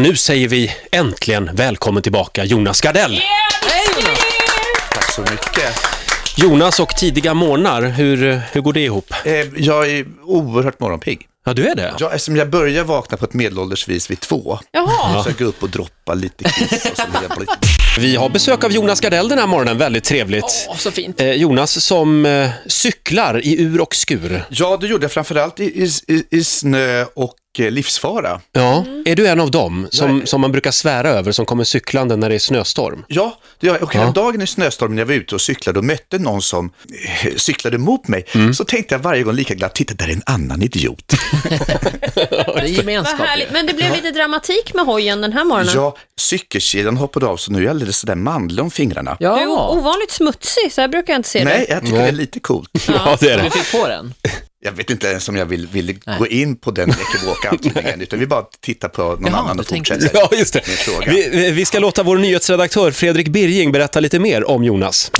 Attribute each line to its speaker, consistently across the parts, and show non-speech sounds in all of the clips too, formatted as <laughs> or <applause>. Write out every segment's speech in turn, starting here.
Speaker 1: Nu säger vi äntligen välkommen tillbaka Jonas Gardell.
Speaker 2: Tack så mycket.
Speaker 1: Jonas och tidiga morgnar, hur, hur går det ihop?
Speaker 2: Eh, jag är oerhört morgonpigg.
Speaker 1: Ja, du är det?
Speaker 2: Jag, eftersom jag börjar vakna på ett medelålders vis vid två,
Speaker 3: Jaha.
Speaker 2: så jag går upp och droppar lite kiss och så blir jag lite... <laughs>
Speaker 1: Vi har besök av Jonas Gardell den här morgonen, väldigt trevligt.
Speaker 3: Åh, så fint.
Speaker 1: Eh, Jonas som eh, cyklar i ur och skur.
Speaker 2: Ja, det gjorde jag framförallt i, i, i- i snö och eh, livsfara.
Speaker 1: Ja, Mm. är du en av dem som,
Speaker 2: Nej.
Speaker 1: som man brukar svära över som kommer cyklande när det är snöstorm?
Speaker 2: Ja, det gör jag. Och hela
Speaker 1: Ja.
Speaker 2: dagen i snöstormen när jag var ute och cyklade och mötte någon som eh, cyklade mot mig, så tänkte jag varje gång lika glatt, titta där är en annan idiot.
Speaker 3: Det är
Speaker 4: Vad
Speaker 3: gemenskap
Speaker 4: härligt. Men det blev lite dramatik med hojen den här morgonen.
Speaker 2: Ja, cykelkedjan hoppade av så nu är jag alldeles sådär manlig om fingrarna.
Speaker 4: Du är o-
Speaker 3: Ja,
Speaker 4: ovanligt smutsig, så här brukar jag inte se
Speaker 2: Nej,
Speaker 4: dig.
Speaker 2: jag tycker det är lite coolt.
Speaker 1: Ja, det är
Speaker 3: du
Speaker 1: <laughs> det.
Speaker 3: fick på den.
Speaker 2: Jag vet inte ens om jag vill, vill gå in på den
Speaker 3: <laughs>
Speaker 2: ekivokantningen, utan vi bara tittar på någon
Speaker 3: Jaha,
Speaker 2: annan
Speaker 3: du
Speaker 2: och
Speaker 3: tänker-
Speaker 2: fortsätter.
Speaker 1: Ja, just det.
Speaker 2: Min fråga.
Speaker 1: Vi, vi- vi ska låta vår nyhetsredaktör Fredrik Birging berätta lite mer om Jonas.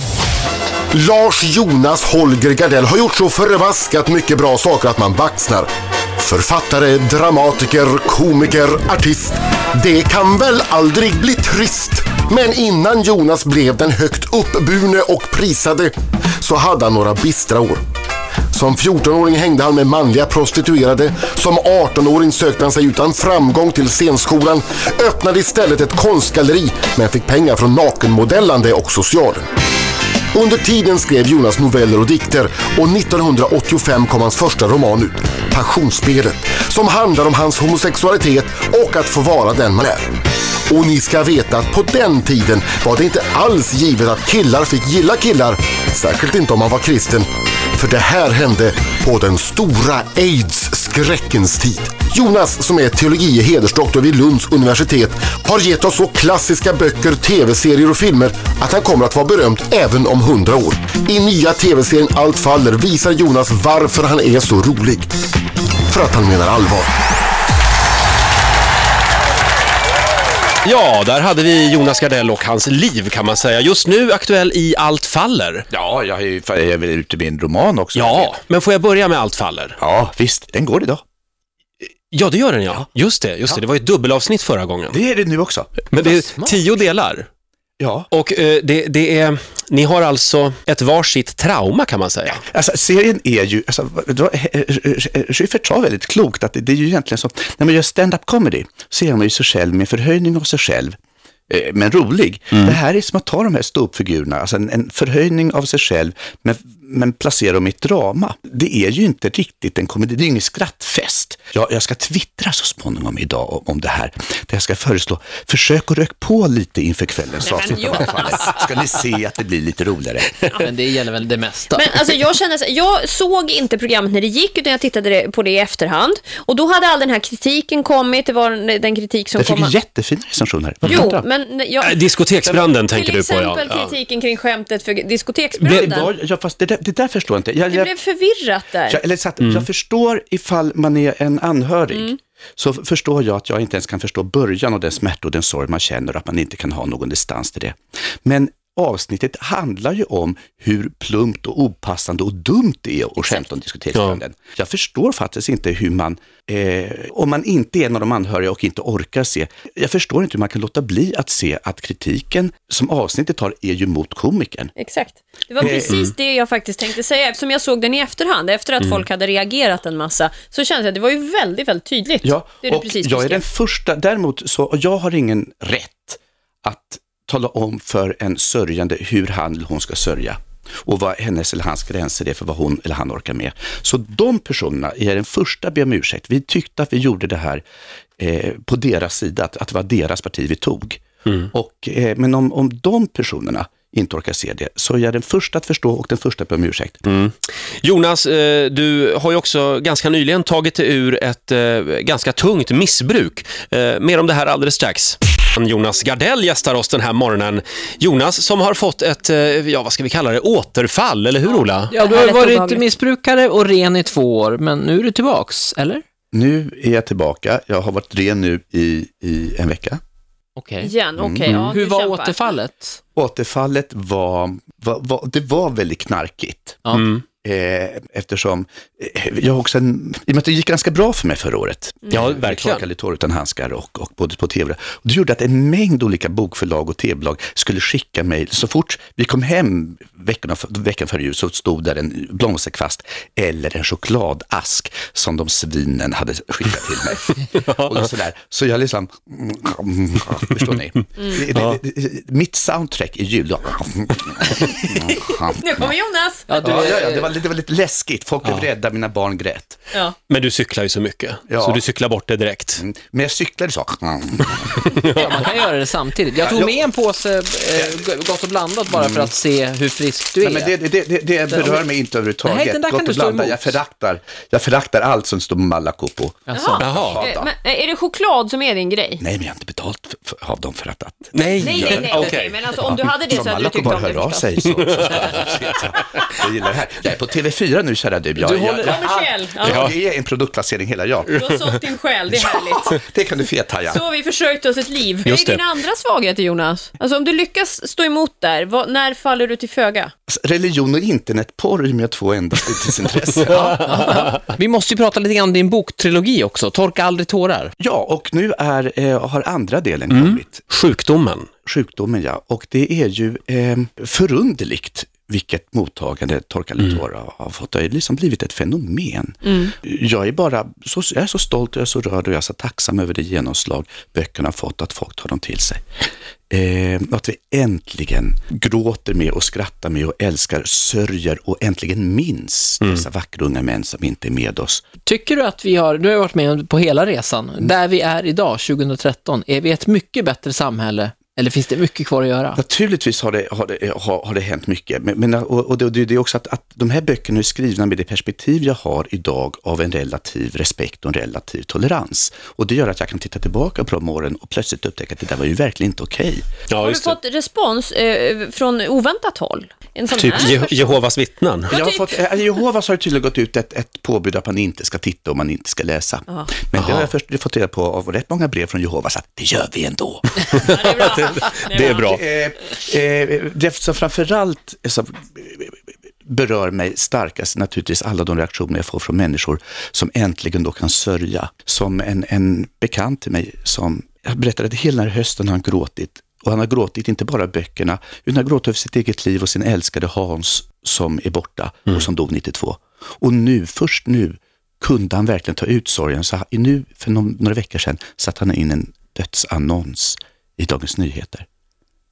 Speaker 5: Lars Jonas Holger Gardell har gjort så förbaskat mycket bra saker att man baxnar. Författare, dramatiker, komiker, artist. Det kan väl aldrig bli trist? Men innan Jonas blev den högt uppburne och prisade så hade han några bistra år. Som 14-åring hängde han med manliga prostituerade. Som 18-åring sökte han sig utan framgång till scenskolan. Öppnade istället ett konstgalleri men fick pengar från nakenmodellande och socialen. Under tiden skrev Jonas noveller och dikter och 1985 kom hans första roman ut, Passionsspelet, som handlar om hans homosexualitet och att få vara den man är. Och ni ska veta att på den tiden var det inte alls givet att killar fick gilla killar, särskilt inte om man var kristen. För det här hände på den stora aids-skräckens tid. Jonas, som är teologi och hedersdoktor vid Lunds universitet, har gett oss så klassiska böcker, tv-serier och filmer att han kommer att vara berömd även om hundra år. I nya tv-serien Allt faller visar Jonas varför han är så rolig. För att han menar allvar.
Speaker 1: Ja, där hade vi Jonas Gardell och hans liv kan man säga. Just nu aktuell i Allt faller.
Speaker 2: Ja, jag är, ju- fan, jag är väl ute med en roman också.
Speaker 1: Ja, men får jag börja med Allt faller?
Speaker 2: Ja, visst, den går idag.
Speaker 1: Ja, det gör den ja. Just det, just det. Det var ju ett dubbelavsnitt förra gången.
Speaker 2: Det är det nu också.
Speaker 1: Men det
Speaker 3: Vad
Speaker 1: är
Speaker 3: smart.
Speaker 1: tio delar.
Speaker 2: Ja,
Speaker 1: Och eh, det, det är, ni har alltså ett varsitt trauma kan man säga.
Speaker 2: alltså serien är ju, alltså, vad- det var- eh, eh, eh, Schyffert sa väldigt klokt att det, det är ju egentligen så, när man gör stand-up comedy så är man ju sig själv med förhöjning av sig själv, eh, men rolig. Det här är som att ta de här ståuppfigurerna, alltså en, en förhöjning av sig själv, men, men placera dem i ett drama. Det är ju inte riktigt en komedi, det är ingen skrattfest. Jag, jag ska twittra så småningom idag om, om det här, där jag ska föreslå, försök att röka på lite inför kvällens
Speaker 4: men
Speaker 2: avsnitt av
Speaker 4: Jonas.
Speaker 2: fallet. Ska ni se att det blir lite roligare.
Speaker 3: Men det gäller väl det mesta.
Speaker 4: Men alltså, jag, känner, så- jag såg inte programmet när det gick utan jag tittade det- på det i efterhand. Och då hade all den här kritiken kommit, det var den- den kritik som
Speaker 2: Jag fick
Speaker 4: kom.
Speaker 2: jättefina recensioner. Vad pratar du
Speaker 4: Jo,
Speaker 2: om?
Speaker 4: men jag,
Speaker 1: Eh, Diskoteksbranden tänker
Speaker 4: till
Speaker 1: du på ja.
Speaker 4: exempel
Speaker 1: ja.
Speaker 4: kritiken kring skämtet för
Speaker 2: Det,
Speaker 4: diskoteksbranden. Det,
Speaker 2: var, ja, fast det, där, det där förstår jag inte. Jag, jag,
Speaker 4: blev förvirrat där.
Speaker 2: jag, eller så att, jag förstår ifall man är en anhörig, så f- förstår jag att jag inte ens kan förstå början och den smärta och den sorg man känner och att man inte kan ha någon distans till det. Men avsnittet handlar ju om hur plumpt och opassande och dumt det är att skämta om diskoteksbranden. Jag förstår faktiskt inte hur man, eh, om man inte är en av de anhöriga och inte orkar se, jag förstår inte hur man kan låta bli att se att kritiken som avsnittet har är ju mot komikern.
Speaker 4: Exakt. Det
Speaker 2: Eh,
Speaker 4: var precis
Speaker 2: mm.
Speaker 4: det jag faktiskt tänkte säga. Eftersom jag såg den i efterhand, efter att folk hade reagerat en massa, så kändes det att det var ju väldigt, väldigt tydligt.
Speaker 2: Ja,
Speaker 4: det du
Speaker 2: och
Speaker 4: precis
Speaker 2: jag är
Speaker 4: beskrev.
Speaker 2: den första, däremot så, och jag har ingen rätt att tala om för en sörjande hur han eller hon ska sörja och vad hennes eller hans gränser är för vad hon eller han orkar med. Så de personerna är jag den första att be om ursäkt. Vi tyckte att vi gjorde det här eh, på deras sida, att, att det var deras parti vi tog.
Speaker 4: Mm.
Speaker 2: Och, eh, men om, om de personerna inte orkar se det, så är jag den första att förstå och den första att be om ursäkt.
Speaker 4: Mm.
Speaker 1: Jonas, eh, du har ju också ganska nyligen tagit dig ur ett eh, ganska tungt missbruk. Eh, Mer om det här alldeles strax. Jonas Gardell gästar oss den här morgonen. Jonas som har fått ett, eh, ja vad ska vi kalla det, återfall, eller hur Ola?
Speaker 3: Ja, du har
Speaker 4: Härligt
Speaker 3: varit
Speaker 4: obehagligt.
Speaker 3: missbrukare och ren i två år, men nu är du tillbaks, eller?
Speaker 2: Nu är jag tillbaka, jag har varit ren nu i, i en vecka.
Speaker 3: Okej.
Speaker 4: Igen, okej. ja,
Speaker 3: mm. Hur
Speaker 4: du
Speaker 3: var
Speaker 4: kämpar.
Speaker 3: återfallet?
Speaker 2: Återfallet var, var, var, det var väldigt knarkigt.
Speaker 3: Ja.
Speaker 2: Eh, eftersom eh, jag också, en, i och med att det gick ganska bra för mig förra året.
Speaker 1: Mm. Ja,
Speaker 2: Jag
Speaker 1: verkligen.
Speaker 2: Torkade tår utan handskar och, och både på tv. Och det gjorde att en mängd olika bokförlag och tv-bolag skulle skicka mig, så fort vi kom hem veckorna, veckan före jul så stod där en blomsterkvast eller en chokladask som de svinen hade skickat till mig.
Speaker 1: <laughs>
Speaker 2: och då sådär. Så jag liksom, förstår ni?
Speaker 1: Mm.
Speaker 2: Det, det, det, mitt soundtrack
Speaker 1: <laughs>
Speaker 2: i jul, då.
Speaker 4: Nu kommer Jonas!
Speaker 3: Ja, du,
Speaker 2: Ja, ja, ja,
Speaker 3: eh,
Speaker 2: det, var, det var lite läskigt. Folk blev rädda, mina barn grät.
Speaker 4: Ja.
Speaker 1: Men du cyklar ju så mycket,
Speaker 2: Ja.
Speaker 1: så du cyklar bort det direkt.
Speaker 2: Mm. Men jag cyklade så.
Speaker 3: ja, man kan göra det samtidigt. Jag tog
Speaker 2: Ja, Mm.
Speaker 3: med en påse eh, gott och blandat bara för att se hur frisk du är.
Speaker 2: Nej, men det, det, det, det berör mig inte
Speaker 3: Nej,
Speaker 2: överhuvudtaget.
Speaker 3: den där kan
Speaker 2: Gott
Speaker 3: du
Speaker 2: och
Speaker 3: stå
Speaker 2: blandat.
Speaker 3: emot.
Speaker 2: Jag föraktar, jag föraktar allt som står Malaco på.
Speaker 3: Alltså.
Speaker 1: Jaha.
Speaker 4: Eh, Men, eh, är det choklad som är din grej?
Speaker 2: Nej, men jag har inte betalt för, för, av dem för att... att
Speaker 1: Nej,
Speaker 4: Nej, nej, nej, okej.
Speaker 1: Okej.
Speaker 4: Men alltså om du hade det så
Speaker 2: Som
Speaker 4: hade du
Speaker 2: Malaco
Speaker 4: tyckt
Speaker 2: bara
Speaker 4: om det
Speaker 2: hör av
Speaker 4: förstås.
Speaker 2: sig så, så ska jag se att
Speaker 4: <laughs>
Speaker 2: jag gillar det här. Jag är på TV4 nu, kära du. Jag,
Speaker 3: Du
Speaker 2: jag-
Speaker 3: håller-
Speaker 2: jag,
Speaker 4: Kommersiell. Ja.
Speaker 2: ja, det är en produktplacering hela jag.
Speaker 4: Du har sålt din själ, det är härligt.
Speaker 2: Det kan du fethaja.
Speaker 4: Så har vi försökt oss ett liv. Vad är
Speaker 1: Just det.
Speaker 4: din andra svaghet Jonas? Alltså om du lyckas stå emot där, vad, när faller du till föga?
Speaker 2: Religion och internetporr är mina två
Speaker 3: <laughs>
Speaker 2: enda fritidsintressen.
Speaker 3: Vi måste ju prata lite grann om din boktrilogi också, Torka aldrig tårar.
Speaker 2: Ja, och nu är, eh, har andra delen
Speaker 3: Mm.
Speaker 2: kommit.
Speaker 1: Sjukdomen.
Speaker 2: sjukdomen, ja. Och det är ju eh, förunderligt vilket mottagande Torka Litora har fått. Det har ju liksom blivit ett fenomen. Jag är bara så, jag är så stolt, jag är så rörd och jag är så tacksam över det genomslag böckerna har fått, att folk tar dem till sig. Eh, och att vi äntligen gråter med och skrattar med och älskar, sörjer och äntligen minns dessa vackra unga män som inte är med oss.
Speaker 3: Tycker du att vi har, du har ju varit med på hela resan, där vi är idag, 2013, är vi ett mycket bättre samhälle eller finns det mycket kvar att göra?
Speaker 2: Naturligtvis har det, har det, har, har det hänt mycket, men, men, och, och det, och det det är också att, att de här böckerna är skrivna med det perspektiv jag har idag av en relativ respekt och en relativ tolerans. Och det gör att jag kan titta tillbaka på de åren och plötsligt upptäcka att det där var ju verkligen inte okej.
Speaker 1: Ja,
Speaker 4: Har du
Speaker 1: just det.
Speaker 4: fått respons eh, från oväntat håll? En sån
Speaker 1: Typ
Speaker 4: här
Speaker 1: Je-
Speaker 4: person?
Speaker 1: Jehovas vittnen.
Speaker 2: Jag har
Speaker 4: typ.
Speaker 2: fått, eh, Jehovas har ju tydligen gått ut ett, ett påbud att man inte ska titta och man inte ska läsa. Men det har jag först, fått reda på av rätt många brev från Jehovas att det gör vi ändå.
Speaker 4: Ja, det är bra.
Speaker 1: <laughs> Det är bra.
Speaker 2: Eh, eh, det som framförallt eh, som berör mig starkast är naturligtvis alla de reaktioner jag får från människor som äntligen då kan sörja. Som en, en bekant till mig som jag berättade att hela den här hösten har han gråtit. Och han har gråtit inte bara böckerna, utan han har gråtit över sitt eget liv och sin älskade Hans som är borta och som dog 92. Och nu, först nu, kunde han verkligen ta ut sorgen. Så han- nu, för någon, några veckor sedan, satte han in en dödsannons i Dagens Nyheter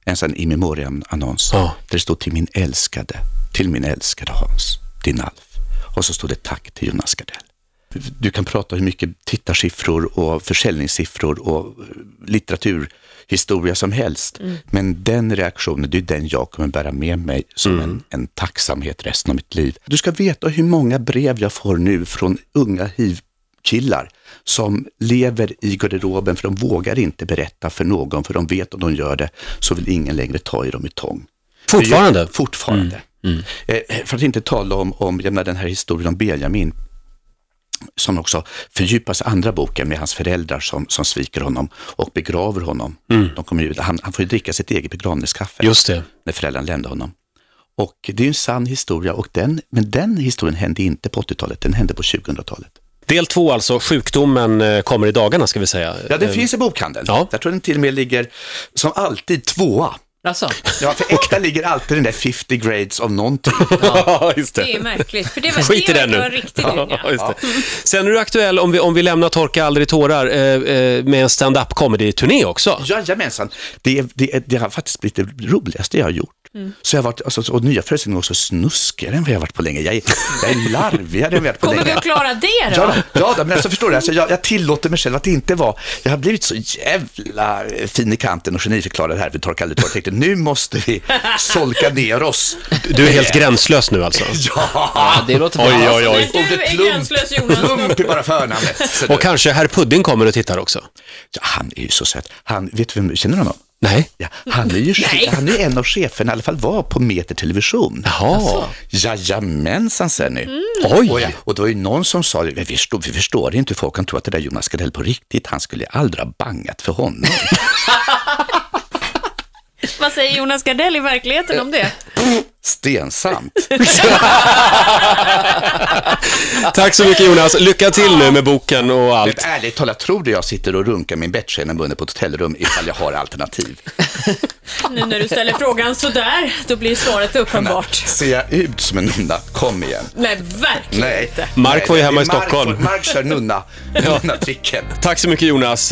Speaker 2: en sån i memoriam-annons
Speaker 1: Ja.
Speaker 2: där det stod till min älskade, till min älskade Hans, din Alf. Och så stod det tack till Jonas Gardell. Du kan prata hur mycket tittarsiffror och försäljningssiffror och eh, litteraturhistoria som helst. Men den reaktionen, det är den jag kommer bära med mig som en, en tacksamhet resten av mitt liv. Du ska veta hur många brev jag får nu från unga hiv killar som lever i garderoben för de vågar inte berätta för någon för de vet om de gör det så vill ingen längre ta i dem i tång.
Speaker 1: Fortfarande. Mm,
Speaker 2: Fortfarande. Eh, för att inte tala om, om jag menar, den här historien om Benjamin som också fördjupas i andra boken med hans föräldrar som, som sviker honom och begraver honom. De kommer ju, han, han får ju dricka sitt eget begravningskaffe
Speaker 1: Mm. Just det.
Speaker 2: när föräldrarna lämnade honom. Och det är ju en sann historia, och den, men den historien hände inte på 80-talet, den hände på 2000-talet.
Speaker 1: Del två alltså, sjukdomen eh, kommer i dagarna ska vi säga.
Speaker 2: Ja, den finns i bokhandeln.
Speaker 1: Eh, Ja.
Speaker 2: Jag tror den till och med ligger, som alltid, tvåa.
Speaker 3: Alltså,
Speaker 2: Ja, för
Speaker 1: <laughs>
Speaker 2: etta ligger alltid den där 50 grades av någonting.
Speaker 1: <laughs> Ja, just
Speaker 4: Det är märkligt, för det
Speaker 1: <laughs>
Speaker 4: var,
Speaker 1: Skit i
Speaker 4: det
Speaker 1: den
Speaker 4: var en
Speaker 1: nu.
Speaker 4: riktig dynga.
Speaker 1: <laughs> Ja, just det. Sen är du aktuell, om vi, om vi lämnar Torka aldrig tårar, eh, eh, med en stand-up comedy-turné också.
Speaker 2: Jajamensan. Det, är- det, är- det har faktiskt blivit det roligaste jag har gjort.
Speaker 4: Mm.
Speaker 2: Så jag har varit, alltså, och nya föreställningar också snuskigare än vad jag har varit på länge. Jag är, jag är larvigare än vad jag har varit på
Speaker 4: Kommer vi
Speaker 2: länge.
Speaker 4: att klara det då?
Speaker 2: Ja, då, ja då, men alltså förstår du, alltså, jag, jag tillåter mig själv att inte vara, jag har blivit så jävla eh, fin i kanten och geniförklarad här vid Torka aldrig tårar. Jag tänkte, nu måste vi solka ner oss.
Speaker 1: Du är helt gränslös nu alltså.
Speaker 3: ja, det låter bra.
Speaker 1: Oj, oj, oj.
Speaker 4: Men du
Speaker 2: Ordet
Speaker 4: är
Speaker 2: plump.
Speaker 4: gränslös Jonas.
Speaker 2: Plump är bara förnamnet. Så
Speaker 1: Och kanske herr Pudding kommer och tittar också.
Speaker 2: Ja, han är ju så söt. Han, vet du vem, känner du honom?
Speaker 1: <laughs> Nej.
Speaker 2: Ja, han är ju che- han är en av cheferna, i alla fall var, på Meter Television.
Speaker 1: Jaha. Mm.
Speaker 2: Jajamensan, säger ni. Och, ja,
Speaker 1: Oj.
Speaker 2: och det var ju någon som sa, vi förstår, vi förstår inte hur folk kan tro att det där Jonas Gardell på riktigt, han skulle aldrig ha bangat för <laughs> honom.
Speaker 4: Vad säger Jonas Gardell i verkligheten om det?
Speaker 2: Stensant.
Speaker 1: Tack så mycket Jonas. Lycka till nu med boken och
Speaker 2: Men
Speaker 1: allt.
Speaker 2: ärligt talat, tror du jag sitter och runkar min bettskena i munnen på ett hotellrum ifall jag har alternativ?
Speaker 4: Nu när du ställer frågan sådär, då blir svaret uppenbart.
Speaker 2: Ser jag ut som en nunna? Kom igen.
Speaker 4: Nej, verkligen
Speaker 2: Nej.
Speaker 4: inte.
Speaker 1: Mark var ju
Speaker 2: Nej,
Speaker 1: hemma i
Speaker 2: Mark-
Speaker 1: Stockholm. <laughs>
Speaker 2: Mark kör nunna. Nunnatricken.
Speaker 1: Tack så mycket Jonas.